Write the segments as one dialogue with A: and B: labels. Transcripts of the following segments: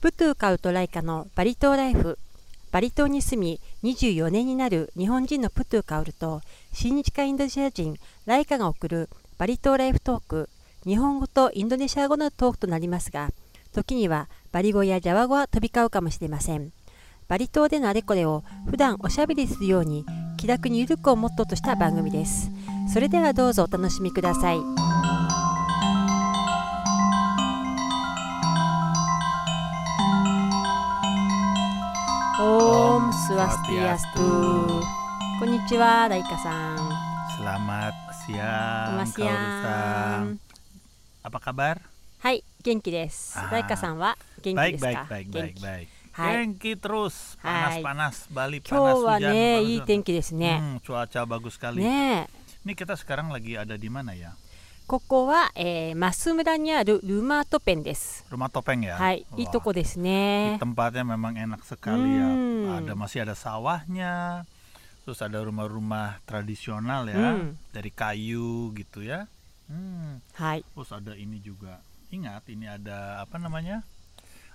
A: プトゥカウトライカのバリ島ライフバリ島に住み24年になる日本人のプトゥカウルと親日家インドネシア人ライカが送るバリ島ライフトーク日本語とインドネシア語のトークとなりますが時にはバリ語やジャワ語は飛び交うかもしれませんバリ島でのあれこれを普段おしゃべりするように気楽にゆるくをモットーとした番組ですそれではどうぞお楽しみくださいオームスワスティアストこんにちはライカさん
B: Selamat siang,
A: Selamat
B: Kaoru-san.
A: siang.
B: Apa kabar?
A: はい元気です
B: あー
A: ライカさんは元気で
B: Baik,
A: すか
B: baik, baik,
A: 元
B: baik,
A: 気
B: baik.
A: はい
B: Genki terus,
A: Hai.
B: panas-panas, Bali
A: 今
B: panas
A: 日は
B: hujan.
A: ね
B: panas
A: いい
B: hujan.
A: 天気ですね、
B: Hmm, cuaca bagus sekali.
A: ねえ
B: Ini kita sekarang lagi ada di mana ya?
A: ここは、えーマス村にあるルマートペンです。
B: Rumah Topeng ya?
A: はい、
B: Wah,
A: いいとこです
B: ini
A: ね。
B: Tempatnya memang enak sekali
A: Hmm.
B: ya. Ada masih ada sawahnya. Terus ada rumah-rumah tradisional ya,
A: Hmm.
B: dari kayu gitu ya. Hmm.
A: はい、
B: Terus ada ini juga. Ingat, ini ada apa namanya?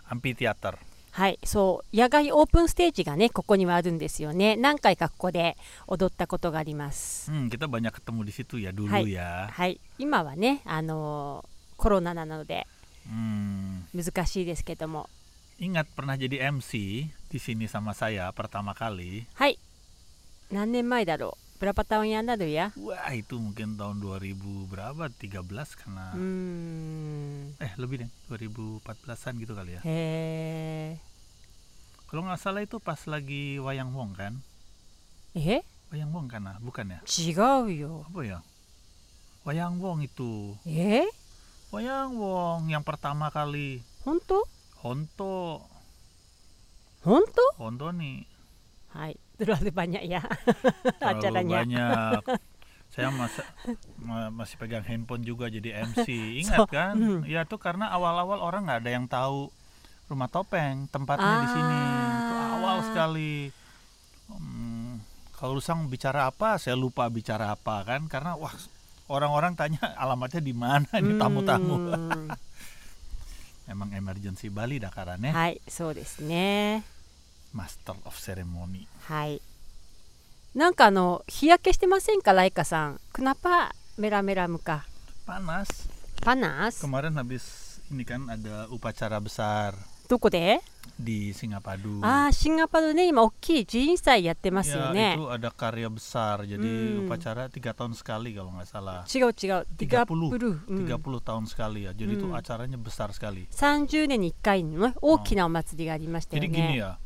B: Amphitheater.
A: はい、そう、野外オープンステージがね、ここにはあるんですよね。何回かここで踊ったことがあります。
B: Hmm, kita banyak ketemu di situ ya dulu
A: Hai.
B: ya.
A: はい、今はね、あのーコロナなので
B: Hmm.
A: 難しいですけども。
B: Ingat pernah jadi MC di sini sama saya pertama kali.
A: はい、何年前だろう。ブラパタオンヤンダドや。
B: Wah, itu mungkin tahun 2000 berapa? 13 karena
A: うーん。
B: eh lebih deh, 2014-an gitu kali ya.
A: へ
B: Kalau nggak salah itu pas lagi Wayang Wong kan?
A: ーえ、
B: Wayang Wong kan? ah? Bukan ya?
A: 違うよ。
B: Apa ya? Wayang Wong itu.
A: え、
B: Wayang Wong yang pertama kali.
A: 本当？
B: Honto,
A: 本
B: Honto nih.
A: 当？はい、terlalu banyak ya
B: terlalu
A: acaranya.
B: banyak. Saya masa- ma- masih pegang handphone juga jadi MC. Ingat
A: So, mm.
B: kan? Ya tuh karena awal-awal orang nggak ada yang tahu rumah topeng tempatnya di sini. Itu
A: Ah.
B: awal sekali. Hmm, kalau Rusang bicara apa, saya lupa bicara apa kan? Karena wah orang-orang tanya alamatnya di mana
A: Hmm.
B: ini tamu-tamu.
A: うん。
B: Emang emergency Bali dah karena
A: はい、そうですね。
B: master of ceremony.
A: はい。なんかあの日焼けしてませんか、ライカさん。クナパメラメラムか。
B: Panas.
A: パナース。
B: Kemarin habis ini kan ada upacara besar
A: どこで？
B: di Singapadu.
A: ああ、シンガポールね、今大きい寺院祭やってますよね。
B: Ya, itu ada karya besar. Jadi
A: Hmm.
B: upacara tiga tahun sekali kalau nggak salah.
A: 違う違う。ディガプルー。
B: 30
A: うん
B: 30 tahun sekali ya. Jadi itu
A: Hmm.
B: acaranya besar sekali.
A: 30年に1回の大きなお祭りがありましたよ
B: Jadi gini
A: ね。
B: ya.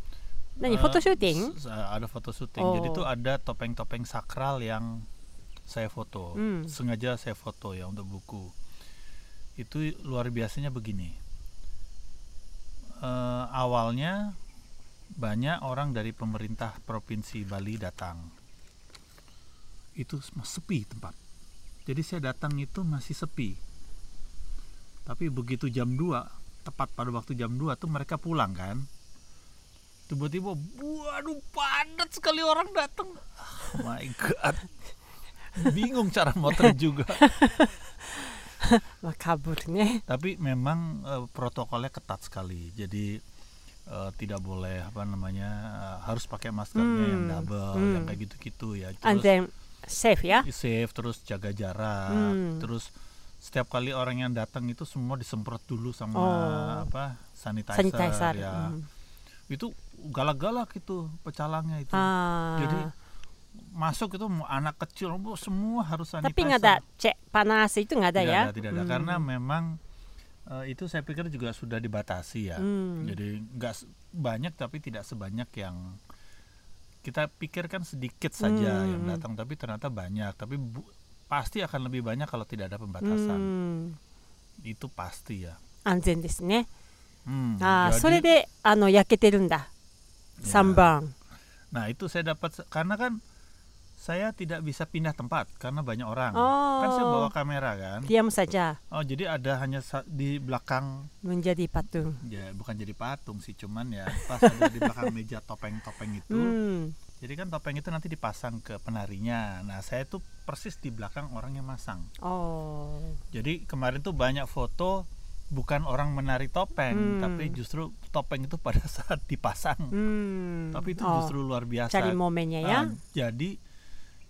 A: 何、
B: eh,
A: フォトシューティング
B: s- eh, Ada foto syuting.
A: Nah, Oh.
B: Jadi itu ada topeng-topeng sakral yang saya foto.
A: Hmm.
B: Sengaja saya foto ya untuk buku. Itu luar biasanya begini. Eh, awalnya banyak orang dari pemerintah provinsi Bali datang. Itu sem- sepi tempat. Jadi saya datang itu masih sepi. Tapi begitu jam 2, tepat pada waktu jam 2 tuh mereka pulang kan. Tiba-tiba, waduh padat sekali orang datang. Oh my god. Bingung cara motor juga.
A: まあ、かぶるね。
B: Tapi memang eh, protokolnya ketat sekali. Jadi eh, tidak boleh apa namanya eh, harus pakai maskernya yang
A: Hmm,
B: double,
A: hmm.
B: yang kayak gitu-gitu ya.
A: 安
B: Terus
A: 全、セーフや。
B: safe, terus jaga jarak,
A: Hmm.
B: terus setiap kali orang yang datang itu semua disemprot dulu sama
A: Oh. hmm.
B: apa sanitizer,
A: サニタイザー。
B: ya.
A: うん、
B: Itu galak-galak itu pecalangnya itu.
A: Ah. ああ。
B: Jadi masuk itu mau anak kecil bu, semua harus sanitizer.
A: Tapi nggak ada cek panas itu nggak ada
B: Tidak
A: ya?
B: ada, tidak ada.
A: Hmm.
B: Karena memang eh, itu saya pikir juga sudah dibatasi ya.
A: Hmm.
B: Jadi nggak se- banyak tapi tidak sebanyak yang kita pikirkan sedikit saja
A: Hmm.
B: yang datang, tapi ternyata banyak. Tapi bu- pasti akan lebih banyak kalau tidak ada
A: う
B: pembatasan.
A: ん、Hmm.
B: Itu pasti ya.
A: 安全ですね。
B: Hmm,
A: ああ、
B: jadi-
A: それであの焼けてるんだ。
B: Ya.
A: 三番。
B: Nah itu saya dapat se- karena kan saya tidak bisa pindah tempat karena banyak orang. Kan saya
A: Oh.
B: bawa kamera kan.
A: ディアムサジャー、
B: Oh jadi ada hanya sa- di belakang
A: ムンジャディパトゥン。
B: ya bukan jadi patung sih cuman ya pas ada di belakang meja topeng-topeng itu.
A: うん。
B: Jadi kan topeng itu nanti dipasang ke penarinya. Nah saya tuh persis di belakang orang yang masang.
A: おー
B: Jadi kemarin tuh banyak foto bukan orang menari topeng
A: Hmm.
B: tapi justru topeng itu pada saat dipasang
A: Hmm.
B: tapi itu
A: Oh,
B: justru luar biasa
A: cari momennya ya.
B: Nah, jadi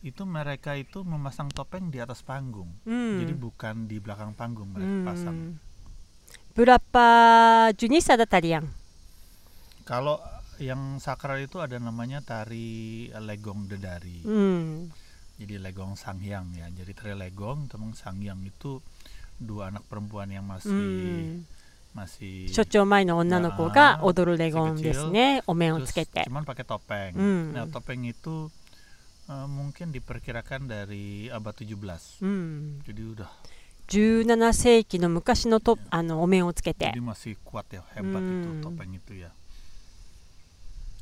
B: itu mereka itu memasang topeng di atas panggung
A: Hmm.
B: jadi bukan di belakang panggung mereka
A: Hmm.
B: pasang
A: Berapa jenis ada tarian?
B: kalau yang sakral itu ada namanya tari legong dedari
A: Hmm.
B: jadi legong sanghyang ya jadi tari legong temen sanghyang itu dua anak perempuan yang masih
A: うん、
B: masih
A: 所長前の女の子が踊るレゴンですね、お面を
B: terus
A: つけて。
B: cuman pakai topeng
A: Hmm.
B: nah topeng itu eh, mungkin diperkirakan dari abad 17
A: Hmm. うん、
B: jadi udah
A: 17世紀の昔のとあのお面をつけて
B: Jadi。masih kuat ya, hebat itu
A: Hmm.
B: topeng itu ya.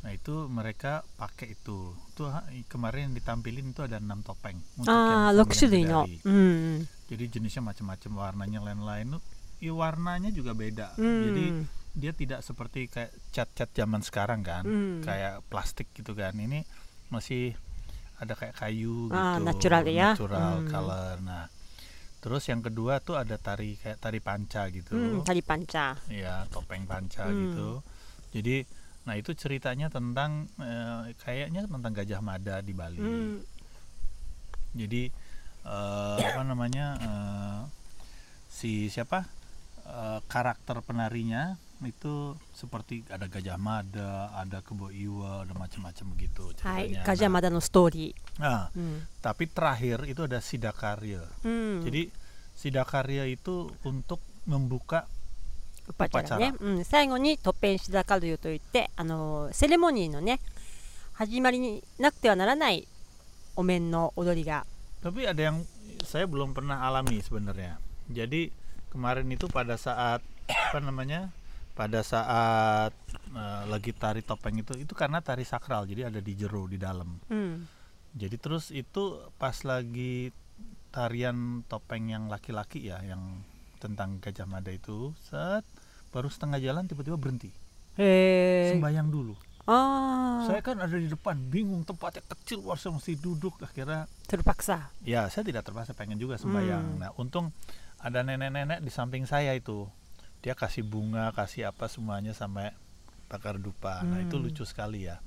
B: Nah itu mereka pakai itu. Itu ha- kemarin ditampilin itu ada enam topeng. untuk yang
A: ああ、
B: sanghyang
A: 6種類の
B: Bidari.。
A: うん、
B: Jadi jenisnya macam-macam, warnanya lain-lain. I warnanya juga beda.
A: うん
B: Jadi dia tidak seperti kayak cat-cat zaman sekarang kan,
A: Hmm.
B: kayak plastik gitu kan. Ini masih ada kayak kayu gitu,
A: Ah, natural ya. Hmm.
B: natural color. Nah, terus yang kedua tuh ada tari kayak tari panca gitu
A: うん、タリパンチャー。
B: ya topeng panca
A: Hmm.
B: gitu jadi nah itu ceritanya tentang eh, kayaknya tentang gajah mada di Bali
A: うん、
B: jadi eh, apa namanya eh, si siapa Eh, karakter penarinya itu seperti ada gajah mada ada kebo iwa ada macam-macam begitu
A: はい、
B: ceritanya.
A: ガジャ
B: Nah,
A: マダのストーリ
B: nah,
A: ー。うん、
B: tapi terakhir itu ada sidakarya
A: うん、
B: jadi sidakarya itu untuk membuka
A: ウパチャラね、うん、最後にトッペンシダカルユといってあのセレモニーのね始まりになくてはならないお面の踊りが
B: Tapi ada yang saya belum pernah alami sebenarnya. Jadi kemarin itu pada saat apa namanya? Pada saat eh, lagi tari topeng itu itu karena tari sakral. Jadi ada di jero di dalam.
A: うん、
B: Jadi terus itu pas lagi tarian topeng yang laki-laki ya yang tentang Gajah Mada itu set baru setengah jalan tiba-tiba berhenti.
A: へえ
B: Sembayang dulu.
A: ああ
B: Saya kan ada di depan bingung tempatnya kecil wah saya mesti duduk akhirnya
A: terpaksa
B: ya saya tidak terpaksa pengen juga
A: Hmm.
B: sembayang nah untung ada nenek-nenek di samping saya itu dia kasih bunga kasih apa semuanya sampai bakar dupa nah itu
A: Hmm.
B: lucu sekali ya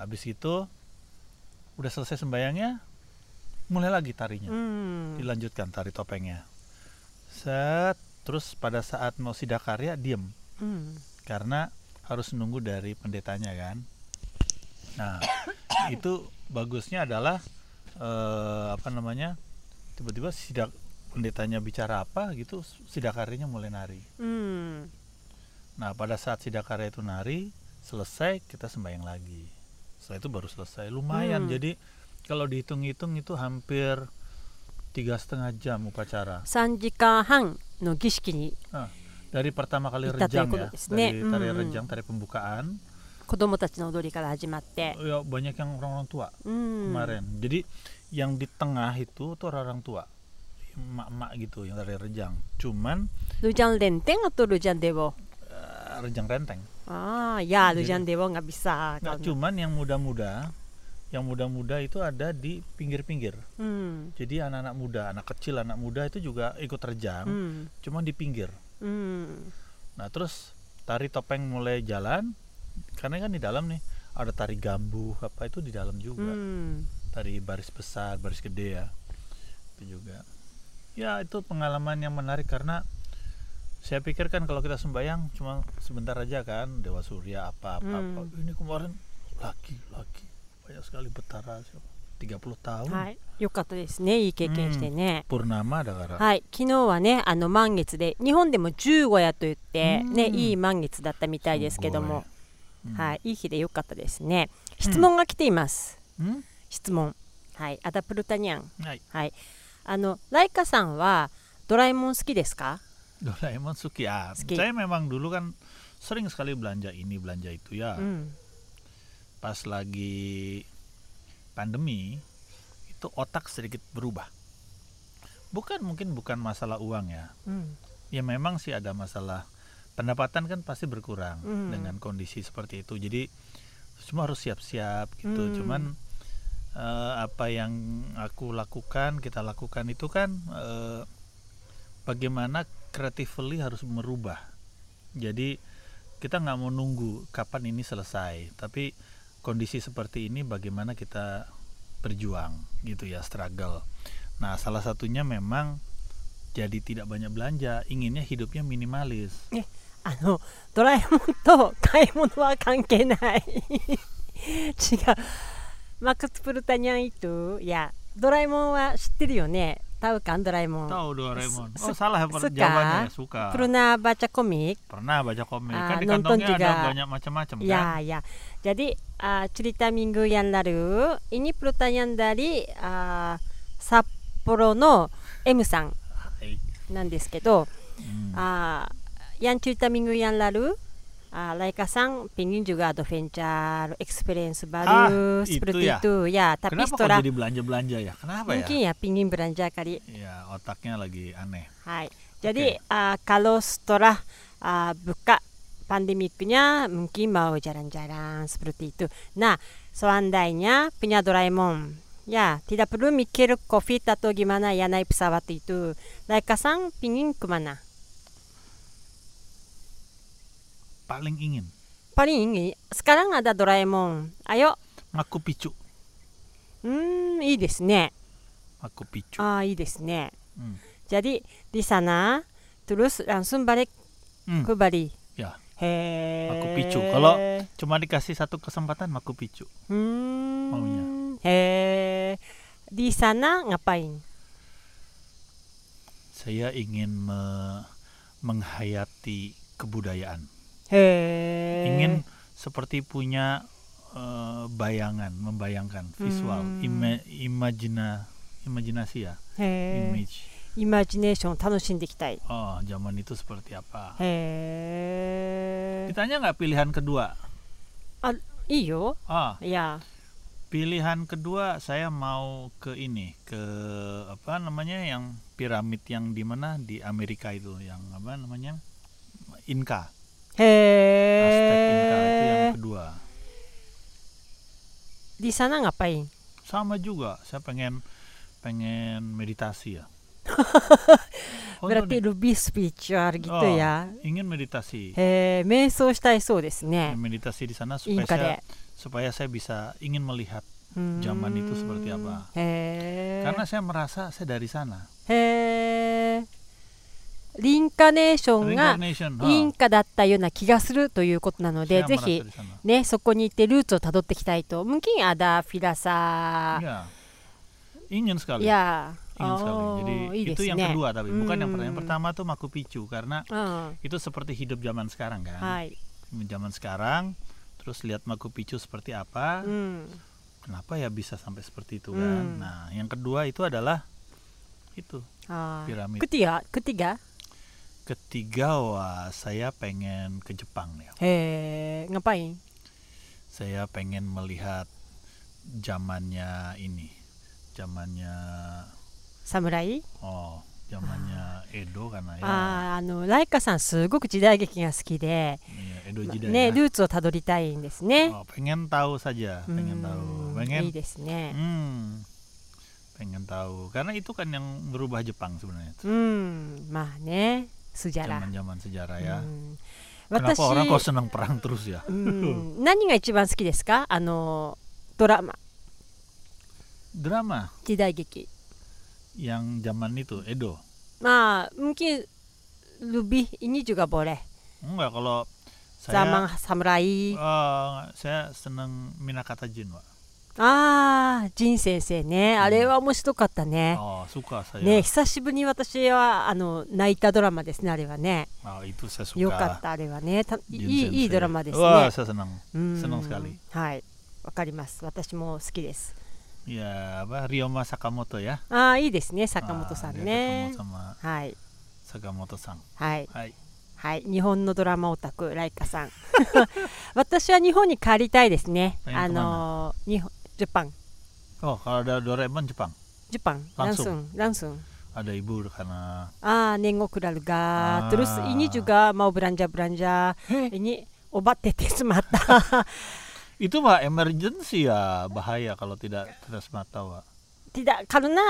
B: habis itu udah selesai sembayangnya mulai lagi tarinya
A: うん、
B: dilanjutkan tari topengnya set terus pada saat mau sidakarya diem
A: うん、
B: karena harus nunggu dari pendetanya kan. Nah, itu bagusnya adalah eh, apa namanya? Tiba-tiba sidak pendetanya bicara apa gitu, sidakarya mulai nari.
A: うん、
B: Nah, pada saat sidakarya itu nari, selesai kita sembahyang lagi. Setelah itu baru selesai. Lumayan.
A: Hmm.
B: Jadi kalau dihitung-hitung itu hampir tiga setengah jam upacara Nah,
A: 3時間半の儀式に
B: dari pertama kali
A: Kita
B: rejang
A: tuh
B: ya
A: ikut
B: dari
A: snack.
B: tari
A: Hmm.
B: rejang tari pembukaan
A: 子供たちの踊りから始まって、
B: ya banyak yang orang-orang tua
A: うん、
B: kemarin. Jadi yang di tengah itu tuh orang, -orang tua, emak-emak gitu yang dari Rejang. Cuman
A: ルジャンレンテンあとルジャンデボ
B: eh, Rejang renteng.
A: ああいや
B: Jadi-
A: ルジャンデボ nggak bisa
B: Nah,
A: kalau-
B: cuman yang muda-muda, yang muda-muda itu ada di pinggir-pinggir.
A: うん、
B: Jadi anak-anak muda, anak kecil, anak muda itu juga ikut Rejang,
A: うん、
B: cuman di pinggir.
A: うん、
B: Nah, terus tari topeng mulai jalan, karena kan di dalam nih ada tari gambuh apa itu di
A: う
B: dalam juga.
A: ん、
B: tari baris besar, baris gede ya. Itu juga. Ya, itu pengalaman yang menarik karena saya pikir kan kalau kita sembayang cuma sebentar aja kan Dewa Surya apa apa, apa. ini kemarin lagi lagi banyak sekali betara siapa? 30 tahun
A: はい、よかったですね、いい経験してね。
B: purnama ada karena
A: はい、昨日はね、あの満月で、日本でも十五夜と言って、ね、
B: うん
A: いい満月だったみたいですけども。
B: うん
A: はい、いい日でよかったですね。質問が来ています。
B: Hmm?
A: 質問。はい、アダプルタニャン。
B: Hai.
A: はい、あの、ライカさんは、ドラえもん好きですか。
B: Doraemon Suki ya.
A: Suki.
B: Saya memang dulu kan sering sekali belanja ini belanja itu ya.
A: うん、
B: Pas lagi pandemi itu otak sedikit berubah. Bukan mungkin bukan masalah uang ya.
A: うん、
B: Ya memang sih ada masalah pendapatan kan pasti berkurang
A: Hmm.
B: dengan kondisi seperti itu. Jadi semua harus siap-siap gitu.
A: Hmm.
B: Cuman eh, apa yang aku lakukan, kita lakukan itu kan eh, bagaimana creatively harus merubah. Jadi kita nggak mau nunggu kapan ini selesai, tapi kondisi seperti ini bagaimana kita berjuang gitu ya, struggle. Nah, salah satunya memang jadi tidak banyak belanja, inginnya hidupnya minimalis.
A: あのドラえもんと買い物は関係ない違うマックス・プルタニャン・イトゥいやドラえもんは知ってるよねタウカンドラえもん
B: Tahu Doraemon.
A: su-
B: Oh, salah
A: suka.
B: jawabannya ya, suka.
A: プルナーバーチャコミック
B: Pernah baca komik.
A: Ah,
B: kan di
A: nonton
B: kantongnya ada
A: juga.
B: banyak macam-macam kan.
A: Ya, ya. Jadi ah, cerita minggu yang lalu ini pertanyaan dari ah, Sapporo no M さん
B: Baik.
A: なんですけど、
B: Hmm.
A: ah, yang cerita minggu yang lalu ah, Laika sang pingin juga adventure experience baru
B: Ah, itu
A: seperti
B: ya.
A: itu ya. Tapi
B: Kenapa
A: setelah
B: kok jadi belanja-belanja ya? Kenapa
A: mungkin ya
B: ya?
A: pingin belanja kali.
B: Ya, otaknya lagi aneh.
A: Hai. Jadi ah, kalau setelah ah, buka pandemiknya mungkin mau jalan-jalan seperti itu. Nah, seandainya punya Doraemon. Ya, tidak perlu mikir COVID atau gimana ya naik pesawat itu. Laika sang pingin kemana?
B: Paling ingin
A: Paling ingin sekarang ada Doraemon. Ayo.
B: Maku Picchu.
A: Hmm, iyi desu ne.
B: Maku Picchu.
A: Ah, iyi desu ne.
B: Hmm.
A: Jadi di sana terus langsung balik
B: Hmm.
A: ke Bali.
B: Ya,
A: He.
B: Machu Picchu. Kalau cuma dikasih satu kesempatan Maku Picchu.
A: Hmm.
B: Maunya.
A: Eh, di sana ngapain?
B: Saya ingin me- menghayati kebudayaan.
A: Eh,
B: Ingin seperti punya eh, bayangan, membayangkan visual,
A: Hmm.
B: ima- imajina, imajinasi ya,
A: eh,
B: image.
A: imagination 楽しんでいきたい。
B: Oh, zaman itu seperti apa?
A: Eh,
B: Ditanya nggak pilihan kedua?
A: i y o
B: Ah,
A: ya.
B: pilihan kedua saya mau ke ini, ke apa namanya yang piramid yang di mana di Amerika itu, yang apa namanya Inca, Aztec Inca itu yang
A: Eh,
B: kedua.
A: di sana ngapain?
B: Sama juga, saya pengen pengen meditasi ya. Oh,
A: Berarti
B: no,
A: lebih spiritual gitu
B: Oh.
A: ya.
B: ingin meditasi,
A: Eh, 瞑想したいそうですね。
B: meditasi di sana
A: イン
B: supaya
A: カ
B: saya,
A: で。
B: supaya saya bisa ingin melihat zaman itu seperti apa.
A: Hmm, Eh,
B: karena saya merasa saya dari sana.
A: eh, リンカネーションが
B: Reincarnation, ha.
A: インカだったような気がするということなので、
B: Saya
A: ぜ
B: merasa
A: ひ
B: di sana.
A: ね、そこに行ってルーツをたどっていきたいと。mungkin ada filasa
B: Ya. Ingin sekali.
A: ya. iya
B: Ingin sekali. Jadi itu yang kedua tapi bukan yang pertanyaan
A: Hmm.
B: pertama tuh Machu Picchu karena
A: うん、
B: itu seperti hidup zaman sekarang kan.
A: はい。
B: Zaman sekarang terus lihat Machu Picchu seperti apa,
A: うん、
B: kenapa ya bisa sampai seperti itu kan.
A: Hmm.
B: Nah, yang kedua itu adalah itu.
A: Ah.
B: Piramid.
A: Ketiga, ketiga.
B: Ketiga wah saya pengen ke Jepang ya.
A: Eh, ngapain?
B: Saya pengen melihat zamannya ini. Zamannya
A: Samurai?
B: oh, zamannya
A: Ah.
B: Edo karena ya.
A: あーあのライカさんすごく時代劇が好きで、
B: Iya, Edo Jidai
A: ね、
B: ya.
A: ルーツをたどりたいんですね。
B: Oh, pengen tahu saja, pengen
A: Hmm,
B: tahu, pengen,
A: いいですね。
B: hmm, pengen tahu, karena itu kan yang berubah Jepang sebenarnya,
A: うん、まあね、スジャラ。
B: zaman-zaman sejarah ya.
A: うん、
B: Kenapa
A: 私
B: orang kok senang perang terus ya?
A: うん、何が一番好きですかあのドラマ
B: Drama
A: 時代劇
B: yang zaman itu Edo,
A: まあ mungkin lebih ini juga boleh
B: enggak kalau
A: zaman
B: saya,
A: samurai
B: eh, saya senang Minakata Jin, Wak.
A: ああ仁先生ねあれは面白かったね、
B: Oh suka saya,
A: ね久しぶりに私はあの泣いたドラマですねあれはね
B: Oh, itu saya
A: よかっ
B: suka.
A: たあれはねたいい
B: Jin
A: いい
B: Sensei.
A: ドラマです
B: Wah
A: ね
B: saya senang,
A: うん
B: その二人
A: はいわかります私も好きです
B: ya apa Ryoma Sakamoto ya?
A: ああいいですね坂
B: Ah,
A: 本さん
B: dia
A: ね
B: ketemu sama
A: はい
B: Sakamoto-san.
A: はい
B: Hai.
A: はい、日本のドラマオタクライカさん。 私は日本に帰りたいですね。
B: ペンコマ
A: あ
B: ンナ
A: のー日本、ジャパン、
B: Oh, kalau ada Doraemon Jepang,
A: ジャパン、
B: ラ
A: ラン
B: ンスン
A: スン、ランスン。
B: ada ibu karena
A: ああ、年後くらるが
B: あー、
A: トゥルス、イニジュが、マオブランジャブランジャ、イニ、おばっててしまった。
B: itu mah emergency ya bahaya kalau tidak tetes mata, Wak.
A: ティダ、カルナ、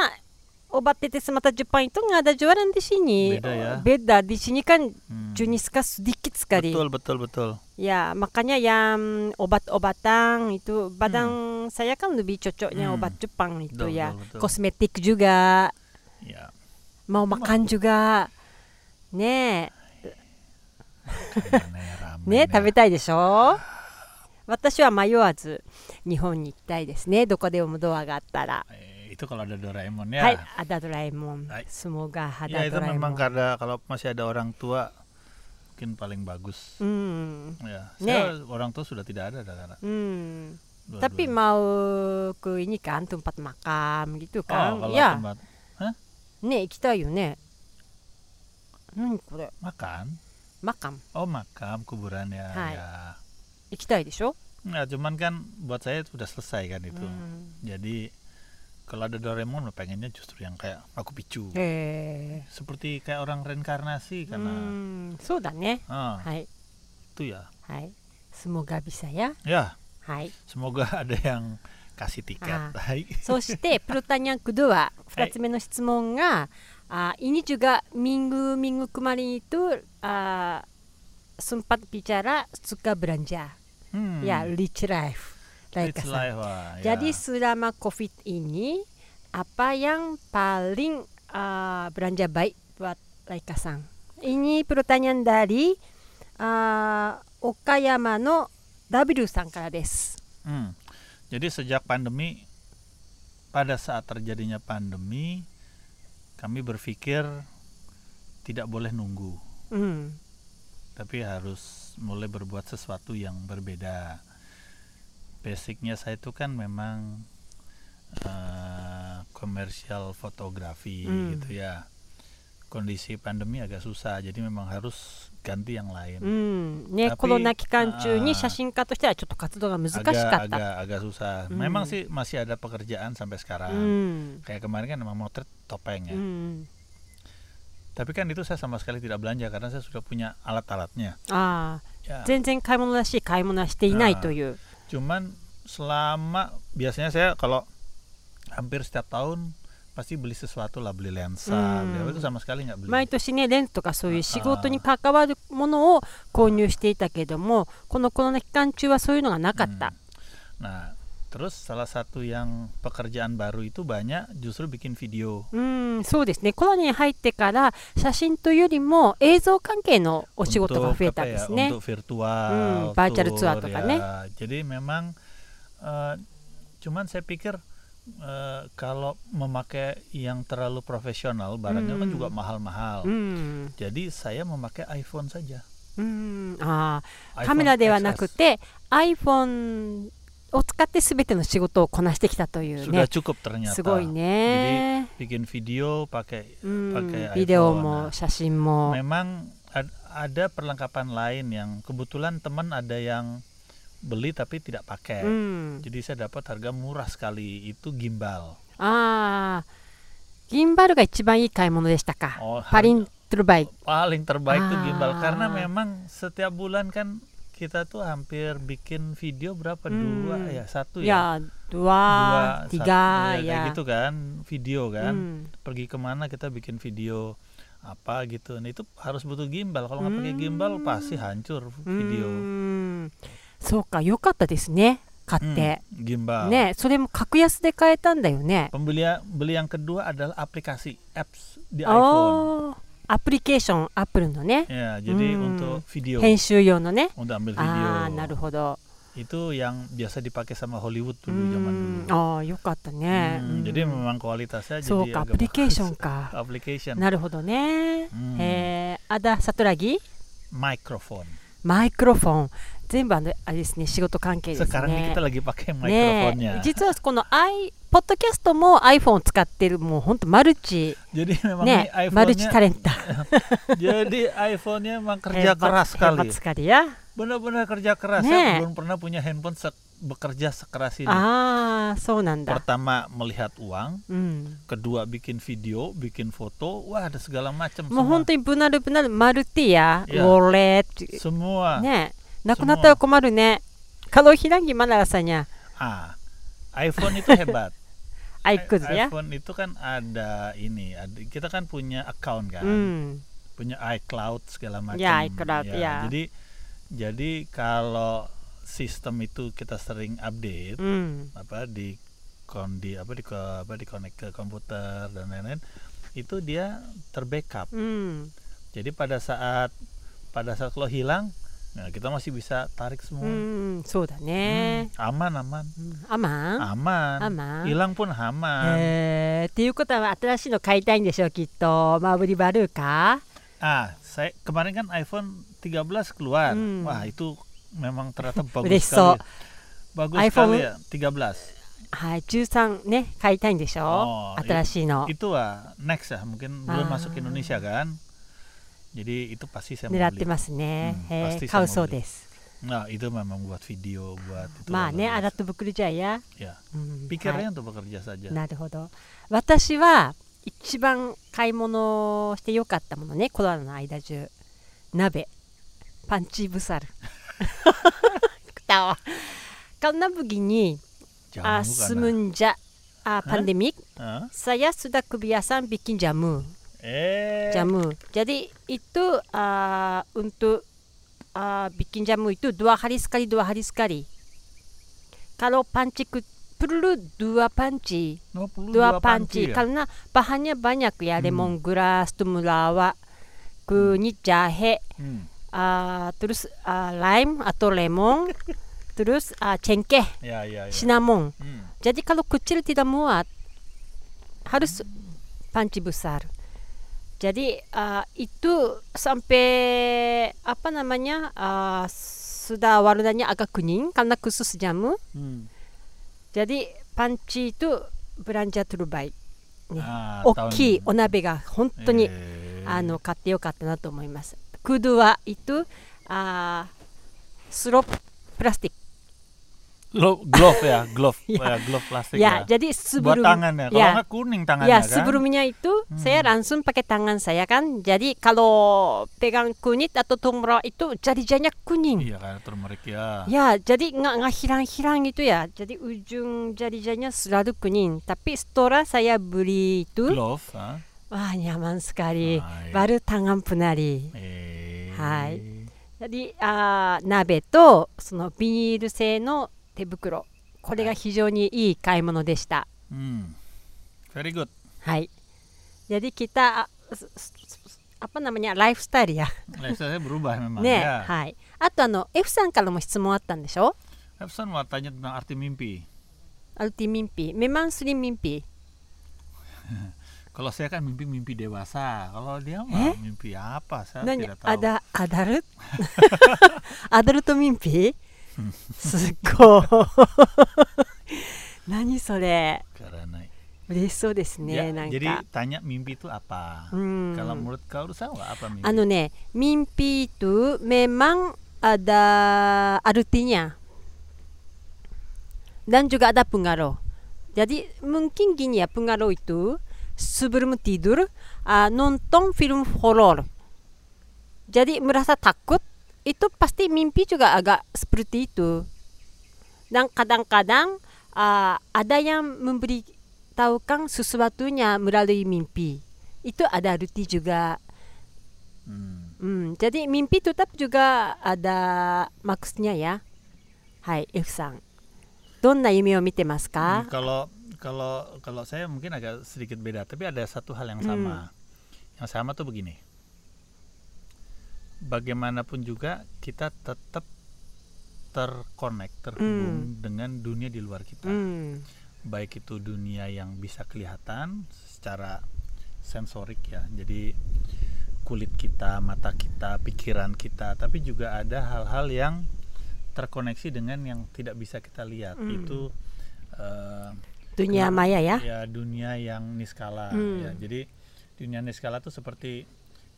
A: obat tetes mata Jepang itu nggak ada jualan di sini.
B: Beda ya.
A: Beda di sini kan
B: Hmm.
A: jenisnya sedikit sekali.
B: Betul betul betul.
A: Ya, makanya yang obat-obatan itu badan saya kan lebih cocoknya
B: Hmm.
A: obat Jepang itu
B: Betul,
A: ya.
B: betul, betul.
A: Kosmetik juga,
B: Ya.
A: mau makan juga. Ne,
B: Ramen, ramen
A: ね、
B: ya.
A: 食べたいでしょ私は迷わず日本に行きたいですね。どこでもドアがあったら。
B: Eh, itu kalau ada Doraemon
A: は
B: ya.
A: い、アダドラえもん
B: はい。
A: スモガハ
B: Ya
A: ダ
B: itu
A: ドラえも
B: memang
A: ん。
B: karena kalau masih ada orang tua mungkin paling bagus.
A: うん。
B: Ya,
A: Hmm. Nih.
B: saya orang tua sudah tidak ada dah karena.
A: Hmm.
B: dua-duanya. Oh,
A: Tapi mau ke ini kan tempat makam gitu
B: oh,
A: kan?
B: kalau
A: ya.
B: tempat
A: ね、行きたいよね。何これ
B: makan,
A: マカン
B: oh makam kuburan ya.
A: Hai.
B: ya.
A: 行きたいでしょ、
B: Nah, cuman kan buat saya sudah selesai kan itu.
A: うん、
B: Jadi kalau ada Doraemon pengennya justru yang kayak aku picu.
A: Iya. へえ
B: Seperti kayak orang
A: う
B: reinkarnasi karena
A: んそうだね
B: ah,
A: はい
B: itu ya.
A: はいスモガビサや
B: Ya,
A: はい
B: semoga ada yang kasih tiket.
A: Ah.
B: Hai.
A: そしてプロタニャンクドゥは2つ目の質問が、あイニチュがミングミングクマリンとあスンパッピチャラスカブランジャ
B: Hmm.
A: ー、いやリッチライフライ
B: It's
A: カさん
B: life, wah, ya.
A: Jadi selama COVID ini apa yang paling uh, belanja baik buat Laika Sang? Ini pertanyaan dari uh, Okayama no W さんからです。
B: Hmm. Jadi sejak pandemi, pada saat terjadinya pandemi, kami berpikir tidak boleh nunggu,
A: うん、
B: tapi harus mulai berbuat sesuatu yang berbeda. Basicnya saya itu kan memang eh, komersial fotografi
A: Hmm.
B: gitu ya. Kondisi pandemi agak susah, jadi memang harus ganti yang
A: う
B: lain.
A: ん、ね、
B: Tapi-
A: コロナ期間中に
B: あー
A: 写真家としてはちょっと活動が難しか
B: Agak,
A: った。
B: agak, agak susah.
A: Hmm.
B: Memang sih masih ada pekerjaan sampai
A: う
B: sekarang.
A: ん、
B: kayak kemarin kan emang motret
A: う
B: topeng ya
A: ん、
B: tapi kan itu saya sama sekali tidak belanja karena saya sudah punya alat-alatnya
A: ああ、
B: ya
A: 全然買い物らしい買い物はしていないという。
B: cuman selama biasanya saya kalau hampir setiap tahun pasti beli sesuatu lah beli lensa
A: Hmm.
B: beli apa itu sama sekali nggak beli
A: 毎年ねレンズとかそういう仕事に関わるものを購入していたけどもこのコロナ期間中はそういうのがなかった、
B: Hmm. nah terus salah satu yang pekerjaan baru itu banyak justru bikin video
A: うん、そうですねコロナに入ってから写真というよりも映像関係のお仕事が増え
B: untuk
A: たん
B: apa
A: で
B: ya
A: すね
B: untuk
A: Hmm,
B: virtual
A: virtual tour
B: tour
A: tuh
B: ya.
A: kan, eh.
B: jadi memang eh, cuman saya pikir eh, kalau memakai yang terlalu profesional barangnya kan
A: Hmm.
B: juga mahal-mahal
A: うん、
B: jadi saya memakai iPhone saja
A: うん、ああ
B: iPhone
A: カメラではなく
B: XS.
A: て iPhone を使って全ての仕事をこなしてきたという
B: sudah
A: ね
B: cukup ternyata
A: すごい
B: jadi
A: ね、
B: bikin video pakai
A: う
B: pakai
A: ん、
B: iPhone
A: ビデオも
B: Nah,
A: 写真も
B: memang ad- ada perlengkapan lain yang kebetulan teman ada yang beli tapi tidak
A: う
B: pakai
A: ん
B: Jadi saya dapat harga murah sekali itu gimbal.
A: ああ、ギンバルが一番いい買い物でしたか。
B: Oh,
A: パリン
B: harga-
A: トゥルバイ。
B: paling terbaik tuh
A: Ah.
B: gimbal karena memang setiap bulan kan kita tuh hampir bikin video berapa
A: Hmm.
B: dua ya satu
A: い
B: ya
A: や、ドア、
B: dua
A: ティ
B: satu,
A: ガーや
B: ya, kayak gitu。kan video
A: う
B: kan
A: ん
B: pergi kemana kita bikin video apa gitu nah itu harus butuh gimbal kalau nggak pakai
A: Hmm.
B: gimbal pasti
A: う
B: hancur video
A: ん。そうか、良かったですね。買っ
B: Hmm,
A: て。
B: gimbal
A: ね、それも格安で買えたんだよね。
B: pembelian beli yang kedua adalah aplikasi apps di
A: Oh.
B: iPhone
A: おーアプリケーション、アップルのね、
B: ya jadi
A: Hmm. Ah, nah,
B: untuk video
A: 編集用のね。
B: untuk ambil video
A: ああ、なるほど。
B: itu yang biasa dipakai sama Hollywood
A: う
B: dulu zaman dulu
A: ん、ああ、良かったね。う
B: Hmm,
A: ん
B: jadi memang kualitasnya
A: そう
B: jadi
A: か、ア
B: agak
A: プリケーション
B: bagus.
A: か。
B: application
A: なるほどね。
B: Hmm,
A: えー、アダ・サトラギ
B: microphone
A: マイクロフォン全部あのあれですね仕事関係ですね。
B: sekarang ini kita lagi pakai
A: ね
B: microphone-nya
A: え実はこの i ポッドキャストも iPhone を使ってるもう本当マルチ
B: jadi memang
A: ね
B: ini
A: マルチ
B: iPhone-nya
A: タレンタ
B: jadi iPhone-nya memang
A: ヘ
B: kerja
A: バ
B: keras
A: ヘバ
B: sekali
A: 疲れや
B: benar-benar kerja keras
A: Ne.
B: saya belum pernah punya handphone se- bekerja sekeras ini
A: Ah, ああそうなんだ。
B: pertama melihat uang
A: うん、
B: kedua bikin video bikin foto wah ada segala macam
A: もう本
B: semua
A: 当にぶなるぶなるマルティやウ
B: いや
A: ォレッ
B: semua
A: トねえなくなったら困るね。カロヒランギマナラさんや。
B: ah iPhone itu hebat
A: iTunes ya.
B: iPhone itu kan ada ini, ada, kita kan punya account kan,
A: Hmm.
B: punya iCloud segala macam.
A: Ya, iCloud, ya.
B: Jadi jadi kalau sistem itu kita sering update
A: Hmm.
B: apa di kondi apa di ko- apa di connect ke komputer dan lain-lain itu dia terbackup.
A: Hmm.
B: Jadi pada saat pada saat lo hilang, nah kita masih bisa tarik semua.
A: Hmm. そうだ
B: Hmm,
A: ね。
B: aman aman.
A: うんアマン Aman.
B: Aman.
A: Eh.
B: Hilang pun aman.
A: えー、っていうことは新しいの買いたいんでしょうきっとマーブリバルーか
B: Ah, saya kemarin kan iPhone 13 keluar.
A: Hmm.
B: Wah, itu memang ternyata bagus
A: Udah so.
B: sekali. ya. Bagus
A: iPhone-
B: sekali ya, 13.
A: はい13ね買いたいんでしょ
B: あー
A: 新しいの
B: Itu ah next ya, mungkin belum
A: Oh. Ah.
B: masuk Indonesia kan. Jadi itu pasti saya mau
A: 狙ってま
B: beli.
A: すね、
B: うん
A: えー
B: パスティさ
A: 買
B: んも
A: うそうです、
B: Nah, itu memang buat video, buat itu.
A: まあね
B: bagus.
A: アラットブクルジャイや、
B: Ya.
A: うん
B: Pikirnya untuk bekerja saja.
A: なるほど私は一番買い物をしてよかったものねコロナの間中鍋パンチブサ ル来たわカンナブギに 아,
B: Jangan bukan, ah.
A: 스문자 아, pandemik
B: Hah?
A: saya sudah kebiasaan bikin jamu.
B: Eh.
A: Jamu. Jadi itu ah, untuk ah, bikin jamu itu dua hari sekali dua hari sekali. Kalau panci ku- perlu dua panci,
B: 22
A: dua
B: Hmm, panci
A: panci Kan
B: ya?
A: karena bahannya banyak ya,
B: Hmm.
A: lemongrass, temulawak, kunyit jahe,
B: Hmm,
A: ah, terus ah, lime atau lemon, terus ah, cengkeh,
B: Ya, ya, ya.
A: cinnamon.
B: Hmm.
A: Jadi kalau kecil tidak muat harus panci besar. Jadi ah, itu sampai apa namanya ah, sudah warnanya agak kuning karena khusus jamu.
B: Hmm.
A: Jadi panci itu belanja terbaik.
B: Ah,
A: 大
B: tahun-
A: きいお鍋が本当に、
B: Eh.
A: あの買ってよかったなと思います。クドゥはitu eh, あースロッププラスティック。
B: Glo- glove ya, glove,
A: Ya.
B: ya, glove plastik
A: Ya,
B: ya.
A: jadi
B: Buat
A: sebelum
B: tangannya. Kalau
A: ya.
B: nggak kuning tangannya
A: Ya
B: kan.
A: sebelumnya itu
B: Hmm.
A: saya langsung pakai tangan saya kan. Jadi kalau pegang kunyit atau tumroa itu jari-jarinya kuning.
B: Iya kan, turmeric ya.
A: Ya jadi nggak nggak hilang-hilang itu ya. Jadi ujung jari-jarinya selalu kuning. Tapi setelah saya beli itu,
B: Glove, ah.
A: wah nyaman sekali.
B: Ah, iya.
A: Baru tangan penari.
B: Eh.
A: Hai. Jadi ah, nabe to そのビニール製の手袋。これが非常にいい買い物でした。
B: Hmm. Very good.
A: Hai. Jadi kita ah, s- s- s- apa namanya lifestyle ya.
B: Lifestyle berubah memang
A: ね、
B: ya.
A: はい。あとあの F さんからも質問あったんでしょ？
B: Epson mau tanya tentang arti mimpi.
A: アルティミンピー、メマンスリミンピ
B: Kalau saya kan mimpi-mimpi dewasa. Kalau
A: Eh?
B: dia mah mimpi
A: ー、
B: apa? Saya
A: 何
B: tidak？tahu.
A: アダアダ ル？アダルトミンピー？すっごい。 何それ？
B: Karena
A: 嬉しそうですね、
B: Ya,
A: なん
B: jadi
A: か。
B: tanya mimpi itu apa?
A: う
B: Kalau
A: ん。
B: menurut kau Rusa nggak apa mimpi?
A: あのね、ミンピーとメマンアダアルティニャ。Dan juga ada pengaruh. Jadi mungkin gini ya pengaruh itu sebelum tidur ah, nonton film horor. Jadi merasa takut itu pasti mimpi juga agak seperti itu. Dan kadang-kadang ah, ada yang memberitahukan sesuatunya melalui mimpi. Itu ada ruti juga.
B: Hmm.
A: Hmm, jadi mimpi tetap juga ada maksudnya ya. Hai, F さん。どんな夢を見てますか
B: Hmm,？Kalau kalau kalau saya mungkin agak sedikit beda, tapi ada satu hal yang sama. Yang sama tuh begini. Bagaimanapun juga kita tetap terkonek, terhubung dengan dunia di luar kita.
A: Hmm. うん、
B: Baik itu dunia yang bisa kelihatan secara sensorik ya. Jadi kulit kita, mata kita, pikiran kita, tapi juga ada hal-hal yang terkoneksi dengan yang tidak bisa kita lihat.
A: Hmm.
B: Itu eh,
A: dunia
B: Nah,
A: maya ya.
B: ya dunia yang niskala
A: Hmm.
B: ya jadi dunia niskala itu seperti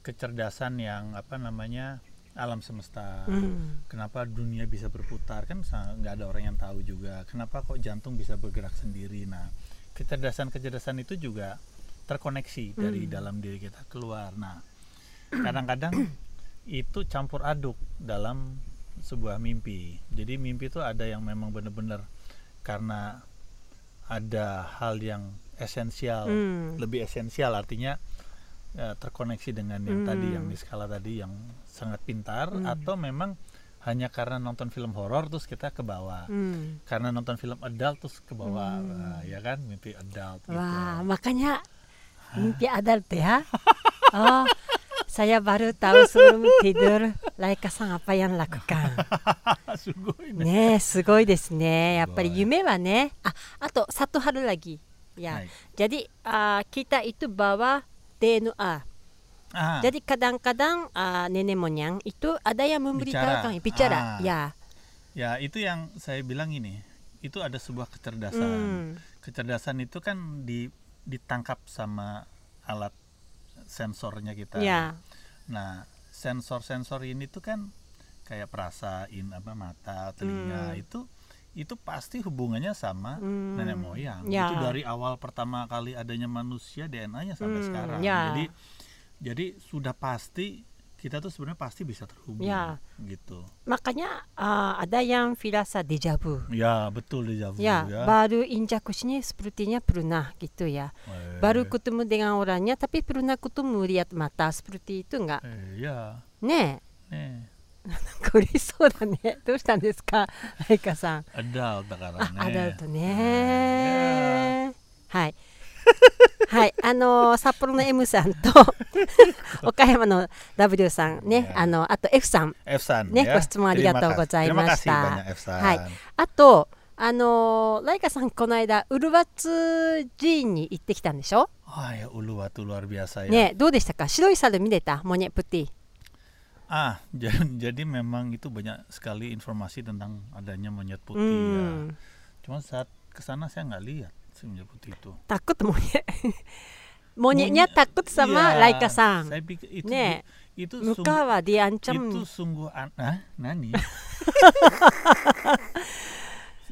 B: kecerdasan yang apa namanya alam semesta
A: Hmm.
B: kenapa dunia bisa berputar kan sa- nggak ada orang yang tahu juga kenapa kok jantung bisa bergerak sendiri nah kecerdasan kecerdasan itu juga terkoneksi dari
A: Hmm.
B: dalam diri kita keluar nah kadang-kadang itu campur aduk dalam sebuah mimpi jadi mimpi itu ada yang memang benar-benar karena ada hal yang esensial
A: Hmm.
B: lebih esensial artinya eh, terkoneksi dengan yang tadi
A: Hmm.
B: yang di skala tadi yang sangat pintar
A: Hmm.
B: atau memang hanya karena nonton film horor terus kita ke bawah
A: Hmm.
B: karena nonton film adult terus ke bawah
A: Hmm.
B: Nah, ya kan mimpi adult gitu
A: Wah, makanya mimpi adult ya. Oh, saya baru tahu sebelum tidur Laika san apa yang lakukan.
B: Sungguh ini.
A: ねえ、すごいですね。やっぱり夢はね。あ、あとsatu Ah, hal lagi. Ya.
B: Baik.
A: Jadi ah, kita itu bawa DNA.
B: Ah,
A: Jadi kadang-kadang ah, nenek moyang itu ada yang memberitahukan bicara.
B: Ah.
A: Ya.
B: ya itu yang saya bilang ini itu ada sebuah kecerdasan
A: Hmm.
B: kecerdasan itu kan di- ditangkap sama alat sensornya kita
A: Ya.
B: Nah, sensor-sensor ini tuh kan kayak perasain apa mata, telinga
A: Hmm.
B: itu itu pasti hubungannya sama
A: Hmm.
B: nenek moyang.
A: Ya.
B: Itu dari awal pertama kali adanya manusia DNA-nya sampai
A: Hmm,
B: sekarang.
A: ya.
B: Jadi jadi sudah pasti kita tuh sebenarnya pasti bisa terhubung
A: Ya.
B: gitu.
A: Makanya ah, ada yang firasa deja vu.
B: Ya, betul di Javu
A: Ya,
B: ya.
A: baru injak sini sepertinya pernah gitu ya.
B: Eh,
A: Baru ketemu dengan orangnya tapi pernah ketemu lihat mata seperti itu enggak?
B: eh, ya.
A: Ne,
B: Nih,
A: kuri so da ne. Dou shita desu ka, Laika san?
B: adult da kara
A: あ、
B: ne.
A: アダルト
B: Ya.
A: ね。はい。はい、あ のー札幌の M さん と岡山の W さんね、
B: Yeah.
A: あのあと F さん
B: Efsan
A: ね、
B: ya.
A: ご質問あり
B: Terima
A: がとう
B: kasih.
A: ございま
B: Terima
A: し
B: kasih
A: た
B: banyak。Efsan.
A: はい、あと、あのーライカさん、この間、ウルバツ寺院に行ってきたんでしょ、
B: Wah ya ulu watu luar biasa ya.
A: ねどうでしたか白い猿見れたモネプティ。
B: Ah, ja- jadi memang itu banyak sekali informasi tentang adanya monyet
A: う
B: putih ya.
A: ん、
B: Cuma saat kesana saya nggak lihat si monyet putih itu.
A: タクトモネ。モネにゃタクト様、ライカさ
B: Saya
A: ん。
B: pikir itu
A: Ne.
B: itu
A: 向
B: sungguh
A: 川ディアンちゃ
B: itu
A: ん。
B: sungguh an- ah, nani.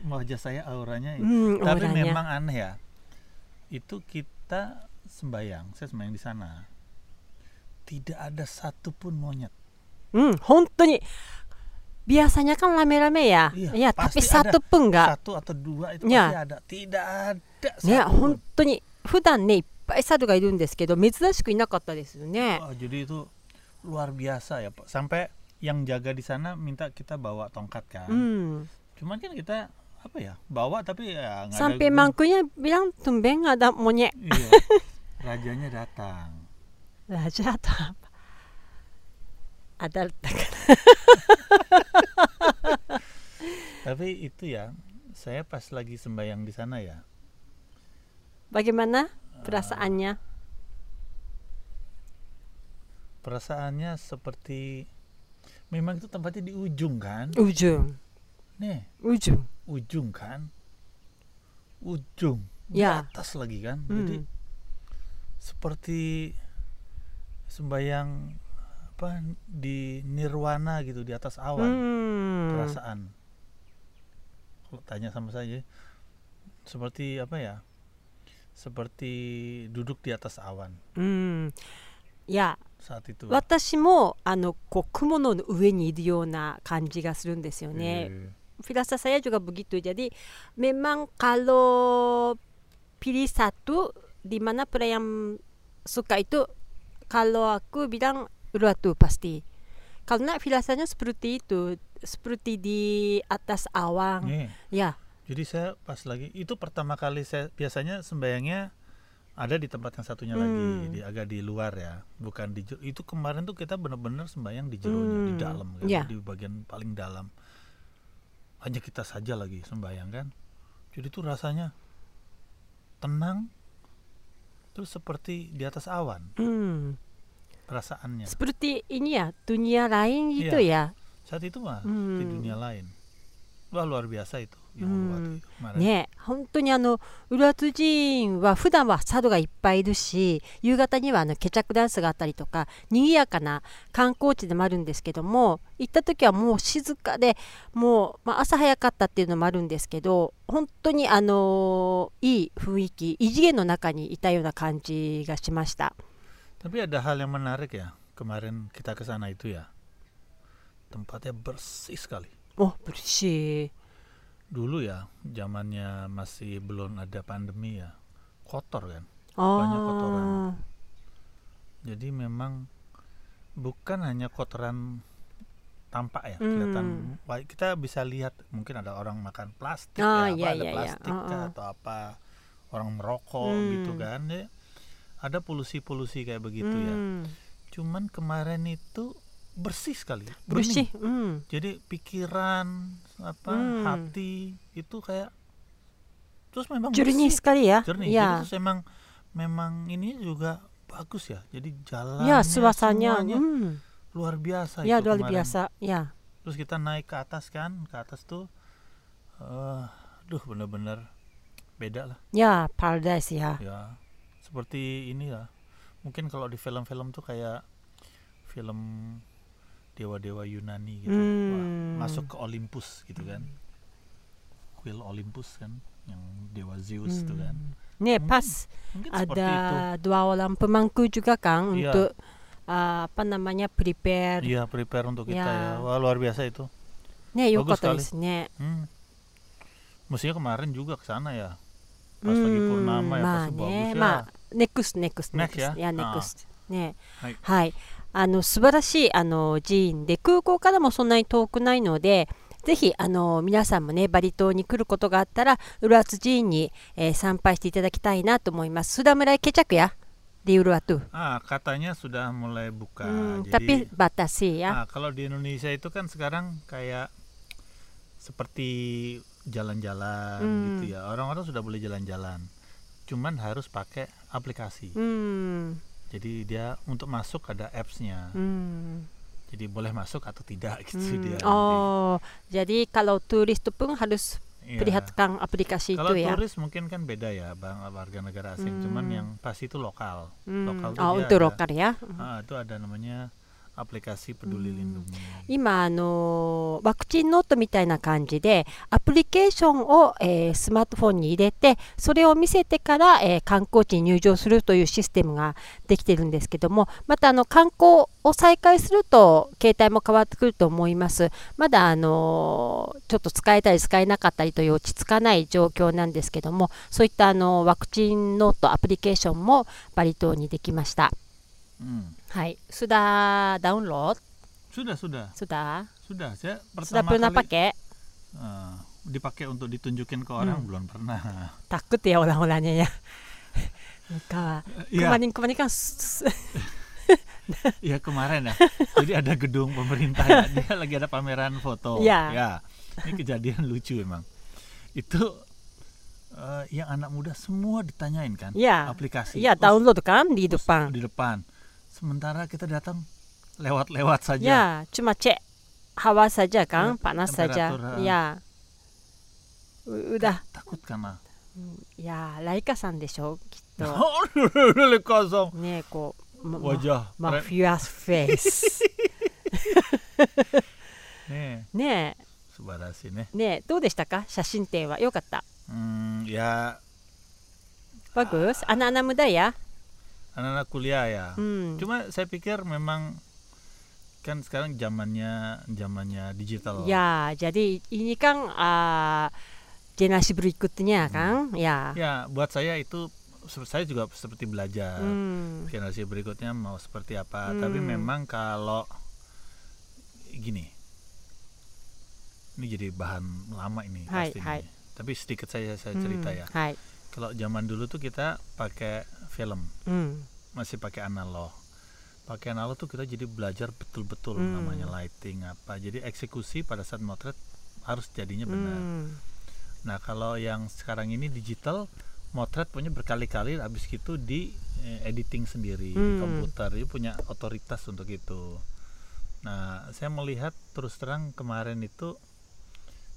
B: Wajah saya auranya itu.
A: うん、オー
B: Tapi
A: ラニャ。
B: memang aneh ya. Itu kita sembayang, saya sembayang di sana. Tidak ada satupun monyet.
A: うん、本当に。ビアサニャカンラメラメや。
B: いや
A: いや、タ
B: パステ
A: ピ
B: ィ
A: サトプンが。
B: satu atau dua itu
A: Ya.
B: pasti ada tidak ada
A: ね、
B: satu.
A: 本当に。普段ね、いっぱい猿がいるんですけど、珍しくいなかったですよね。
B: Wah, Oh, jadi itu luar biasa ya pak sampai yang jaga di sana minta kita bawa tongkat kan
A: うん。
B: cuman kan kita apa ya bawa tapi ya nggak ada
A: Sampai
B: gun-
A: mangkunya bilang tumben ada monyet.
B: Iya. rajanya datang
A: Raja atau apa? Adult kan.
B: tapi itu ya saya pas lagi sembayang di sana ya
A: Bagaimana perasaannya?
B: perasaannya seperti memang itu tempatnya di ujung kan
A: Ujung,
B: nih
A: ujung.
B: ujung kan ujung
A: Ya.
B: di atas lagi kan jadi
A: Hmm.
B: seperti sembayang apa di nirwana gitu di atas awan
A: Hmm.
B: perasaan kalau tanya sama saya seperti apa ya seperti duduk di atas awan
A: うん。いや、
B: saat itu
A: 私もあのこう雲の上にいるような感じがするんですよね。
B: Eh,
A: Firasa saya juga begitu. Jadi memang kalau pilih satu di mana pula yang suka itu kalau aku bilang Uluwatu pasti. Karena firasanya seperti itu, seperti di atas awang.
B: nih,
A: Ya,
B: jadi saya pas lagi itu pertama kali saya biasanya sembayangnya ada di tempat yang satunya lagi
A: Hmm.
B: di agak di luar ya bukan di jer- itu kemarin tuh kita bener-bener sembayang di jerunya di
A: Hmm,
B: dalam kan,
A: ya.
B: di bagian paling dalam hanya kita saja lagi sembayang kan jadi tuh rasanya tenang terus seperti di atas awan
A: hmm.
B: perasaannya
A: seperti ini ya dunia lain gitu ya.
B: saat itu mah di
A: Hmm.
B: dunia lain wah luar biasa itu yang luar
A: Hmm.
B: itu kemarin
A: ねえ本当にあの浦津寺院は普段は佐渡がいっぱいいるし夕方にはあのケチャクダンスがあったりとか賑やかな観光地でもあるんですけども行った時はもう静かでもう、まあ、朝早かったっていうのもあるんですけど本当にあのいい雰囲気異次元の中にいたような感じがしました。
B: Tapi ada hal yang menarik ya. Kemarin kita ke sana itu ya. Tempatnya bersih sekali.
A: おブルシー
B: dulu ya zamannya masih belum ada pandemi ya kotor kan
A: Oh.
B: kotoran. jadi memang bukan hanya kotoran tampak ya kelihatan
A: Hmm.
B: Wah, kita bisa lihat mungkin ada orang makan plastik
A: Ah,
B: ya, apa
A: iya,
B: ada
A: iya, iya.
B: plastik kah,
A: Oh, oh.
B: atau apa orang merokok gitu
A: Hmm.
B: kan ya ada polusi-polusi kayak begitu ya
A: Hmm.
B: cuman kemarin itu bersih sekali
A: Bersih.
B: bersih
A: Hmm.
B: jadi pikiran apa
A: Hmm.
B: hati itu kayak terus memang
A: Jernih
B: bersih,
A: sekali ya.
B: jernih
A: Ya.
B: Jadi terus emang memang ini juga bagus ya jadi jalan
A: Ya, suasananya. Hmm.
B: luar biasa
A: Ya,
B: itu
A: luar
B: kemarin.
A: biasa. Ya.
B: terus kita naik ke atas kan ke atas tuh eh duh bener-bener beda lah
A: Ya, paradise ya.
B: ya seperti ini ya mungkin kalau di film-film tuh kayak film dewa-dewa Yunani gitu Wah,
A: Hmm.
B: masuk ke Olympus gitu kan kuil Olympus kan yang dewa Zeus tuh kan
A: Nih,
B: Hmm.
A: pas
B: mungkin seperti
A: ada
B: itu
A: dua orang pemangku juga kan
B: Iya.
A: untuk uh, apa namanya prepare.
B: iya prepare untuk kita
A: Ya.
B: ya wah luar biasa itu
A: Nih,
B: Bagus
A: よかったで
B: sekali.
A: すね。
B: hmm. mestinya kemarin juga ke sana ya pas lagi purnama ya pasti bagus ya
A: まあ、ネクスト、ネクスト、ネ
B: Next
A: クスト。
B: ya?
A: ネクスト。ね、
B: はい
A: はい。あの、素晴らしい、あの、寺院で、空港からもそんなに遠くないので、ぜひ、あの、皆さんもね、バリ島に来ることがあったら、浦津寺院に、えー参拝していただきたいなと思います。スダムライケチャクや、ディウルワトゥ。
B: ah katanya sudah mulai buka
A: うん、タピ
B: jadi
A: バタシや。
B: Nah, kalau di Indonesia itu kan sekarang kayak seperti jalan-jalan
A: Hmm.
B: gitu ya. Orang-orang sudah boleh jalan-jalan. Cuman harus pakai aplikasi.
A: うん、
B: Jadi dia untuk masuk ada apps-nya.
A: うん。
B: Jadi boleh masuk atau tidak gitu
A: Hmm,
B: dia. nanti.
A: Oh, jadi kalau turis itu pun harus
B: Iya.
A: perlihatkan aplikasi
B: Kalau
A: itu ya.
B: turis mungkin kan beda ya, Bang, warga negara asing. Cuman
A: Hmm.
B: yang pasti itu lokal.
A: Hmm,
B: lokal tuh
A: oh,
B: dia
A: untuk
B: ada.
A: lokal ya.
B: Ah, itu ada namanya aplikasi Peduli
A: Hmm.
B: Lindungi.
A: 今あのワクチンノートみたいな感じでアプリケーションを、えースマートフォンに入れてそれを見せてから、えー観光地に入場するというシステムができてるんですけどもまたあの観光を再開すると携帯も変わってくると思いますまだあのちょっと使えたり使えなかったりという落ち着かない状況なんですけどもそういったあのワクチンノートアプリケーションもバリ島にできました
B: Hmm.
A: はいスダダウンロード
B: Sudah, sudah.
A: スダ
B: Sudah, saya
A: sudah
B: pertama
A: pernah
B: kali
A: pakai
B: Eh, dipakai untuk ditunjukin ke
A: Hmm.
B: orang belum pernah.
A: takut ya orang-orangnya ya muka
B: Iya,
A: kemarin kemarin kan s- s-
B: iya kemarin ya. Jadi ada gedung pemerintah ya, dia lagi ada pameran foto.
A: Iya.
B: Ya, ini kejadian lucu emang. Itu eh, yang anak muda semua ditanyain kan
A: ya
B: aplikasi.
A: ya
B: Terus-
A: download kan di
B: terus
A: depan
B: Di depan. Sementara kita datang lewat-lewat saja. Kan
A: ya cuma cek hawa saja kan
B: Iya,
A: panas saja
B: temperatur, ah.
A: ya U- udah
B: Takut kan, ah? karena.
A: ya Laika san でしょきっ と
B: kosong.
A: ねこうま
B: Wajah.
A: ま
B: keren.
A: フィアスフェイ ス
B: Nih,
A: ね
B: subhanasi nih.
A: えねえどうでしたか写真展はよかった
B: Hmm, ya
A: バグスアナアナムダや
B: anak-anak kuliah ya.
A: うん、
B: Cuma saya pikir memang kan sekarang zamannya zamannya digital.
A: Ya, jadi ini kan ah, generasi berikutnya kan, ya.
B: Ya, buat saya itu se- saya juga seperti belajar
A: Hmm.
B: generasi berikutnya mau seperti apa.
A: Hmm.
B: Tapi memang kalau gini, ini jadi bahan lama ini
A: Hai,
B: pasti.
A: hai.
B: ini. Tapi sedikit saya saya cerita
A: Hmm,
B: ya.
A: Hai.
B: Kalau zaman dulu tuh kita pakai film,
A: Hmm.
B: masih pakai analog. Pakai analog tuh kita jadi belajar betul-betul
A: Hmm.
B: namanya lighting apa. Jadi eksekusi pada saat motret harus jadinya benar.
A: Hmm.
B: Nah, kalau yang sekarang ini digital motret punya berkali-kali habis gitu di eh, editing sendiri di
A: Hmm.
B: komputer. Dia punya otoritas untuk itu. Nah, saya melihat terus terang kemarin itu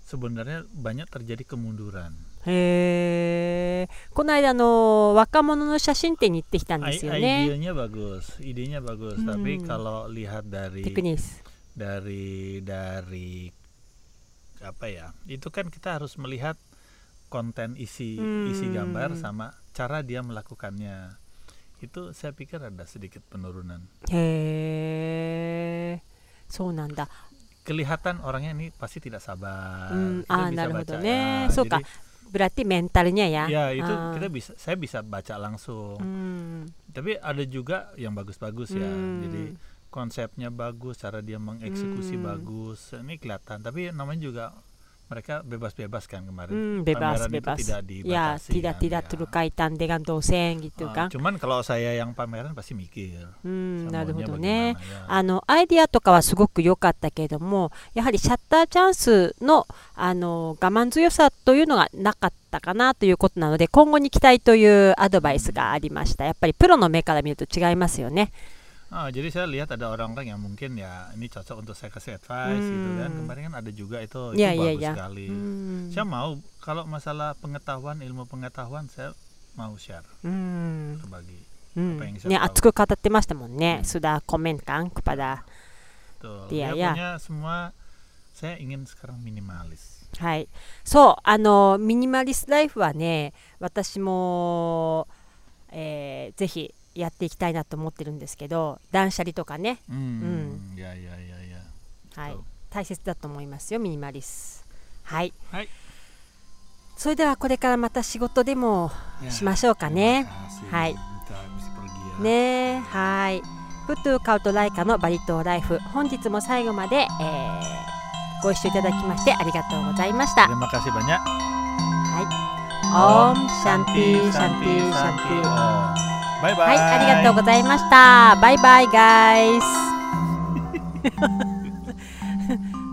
B: sebenarnya banyak terjadi kemunduran.
A: へえ。この間あの若者の写真展に行ってきたんで
B: I-
A: すよね。
B: idenya bagus, idenya bagus,
A: Hmm.
B: tapi kalau lihat dari
A: テクニス。
B: dari dari apa ya itu kan kita harus melihat konten isi isi gambar
A: Hmm.
B: sama cara dia melakukannya itu saya pikir ada sedikit penurunan
A: へえ。そうなんだ。
B: kelihatan orangnya ini pasti tidak sabar.
A: Hmm,
B: Kita
A: ah,
B: bisa
A: naruhodo
B: baca,
A: ne.
B: ah,
A: So ka.
B: jadi-
A: Berarti mentalnya ya.
B: Ya, itu
A: Ah.
B: kita bisa saya bisa baca langsung.
A: Hmm.
B: Tapi ada juga yang bagus-bagus ya.
A: Hmm.
B: Jadi konsepnya bagus, cara dia mengeksekusi
A: Hmm.
B: bagus. Ini kelihatan. Tapi namanya juga mereka bebas-bebas kan
A: Hmm,
B: kemarin.
A: bebas
B: Pameran itu
A: bebas.
B: tidak
A: ya,
B: dibatasi
A: tidak
B: kan,
A: tidak
B: ya.
A: terkaitan dengan dosen gitu
B: Ah,
A: kan.
B: Cuman kalau saya yang pameran pasti mikir.
A: Hmm, な
B: saya
A: るほ
B: maunya
A: どね。
B: bagaimana, ya.
A: あのアイディアとかはすごく良かったけれどもやはりシャッターチャンスのあの我慢強さというのがなかったかなということなので今後に期待というアドバイスがありましたやっぱりプロの目から見ると違いますよね。
B: Ah, jadi saya lihat ada orang-orang yang mungkin ya ini cocok untuk saya kasih advice gitu kan.
A: Hmm.
B: Kemarin kan ada juga itu, itu
A: Ya, ya,
B: bagus
A: ya.
B: sekali.
A: うん
B: Saya mau kalau masalah pengetahuan, ilmu pengetahuan saya mau share
A: うん、
B: berbagi.
A: うん
B: やっぱ演技者
A: ね、
B: と
A: 熱く語ってましたもんね。
B: うん
A: 須田コメンカンクパダ
B: Betul.
A: Iya,
B: Dia
A: iya.
B: punya semua saya ingin sekarang minimalis.
A: はい、そうあのミニマリスライフはね私も、えーぜひやっていきたいなと思ってるんですけど断捨離とかね、
B: Hmm, ya ya ya ya.
A: はい
B: Betul.、
A: 大切だと思いますよミニマリスはい、
B: はい
A: それではこれからまた仕事でも
B: Ya,
A: しましょうか
B: terima
A: ね
B: kasih.
A: Hai.
B: Kita habis pergi ya.
A: ねはいプトゥーカウトライカのバリ島ライフ本日も最後まで、えーご一緒いただきましてありがとうございました
B: Terima kasih banyak.
A: はいオンシャンティシャンティシャンティ
B: Om. Bye bye.
A: はい、ありがとうございました。バイバイ、ガイス。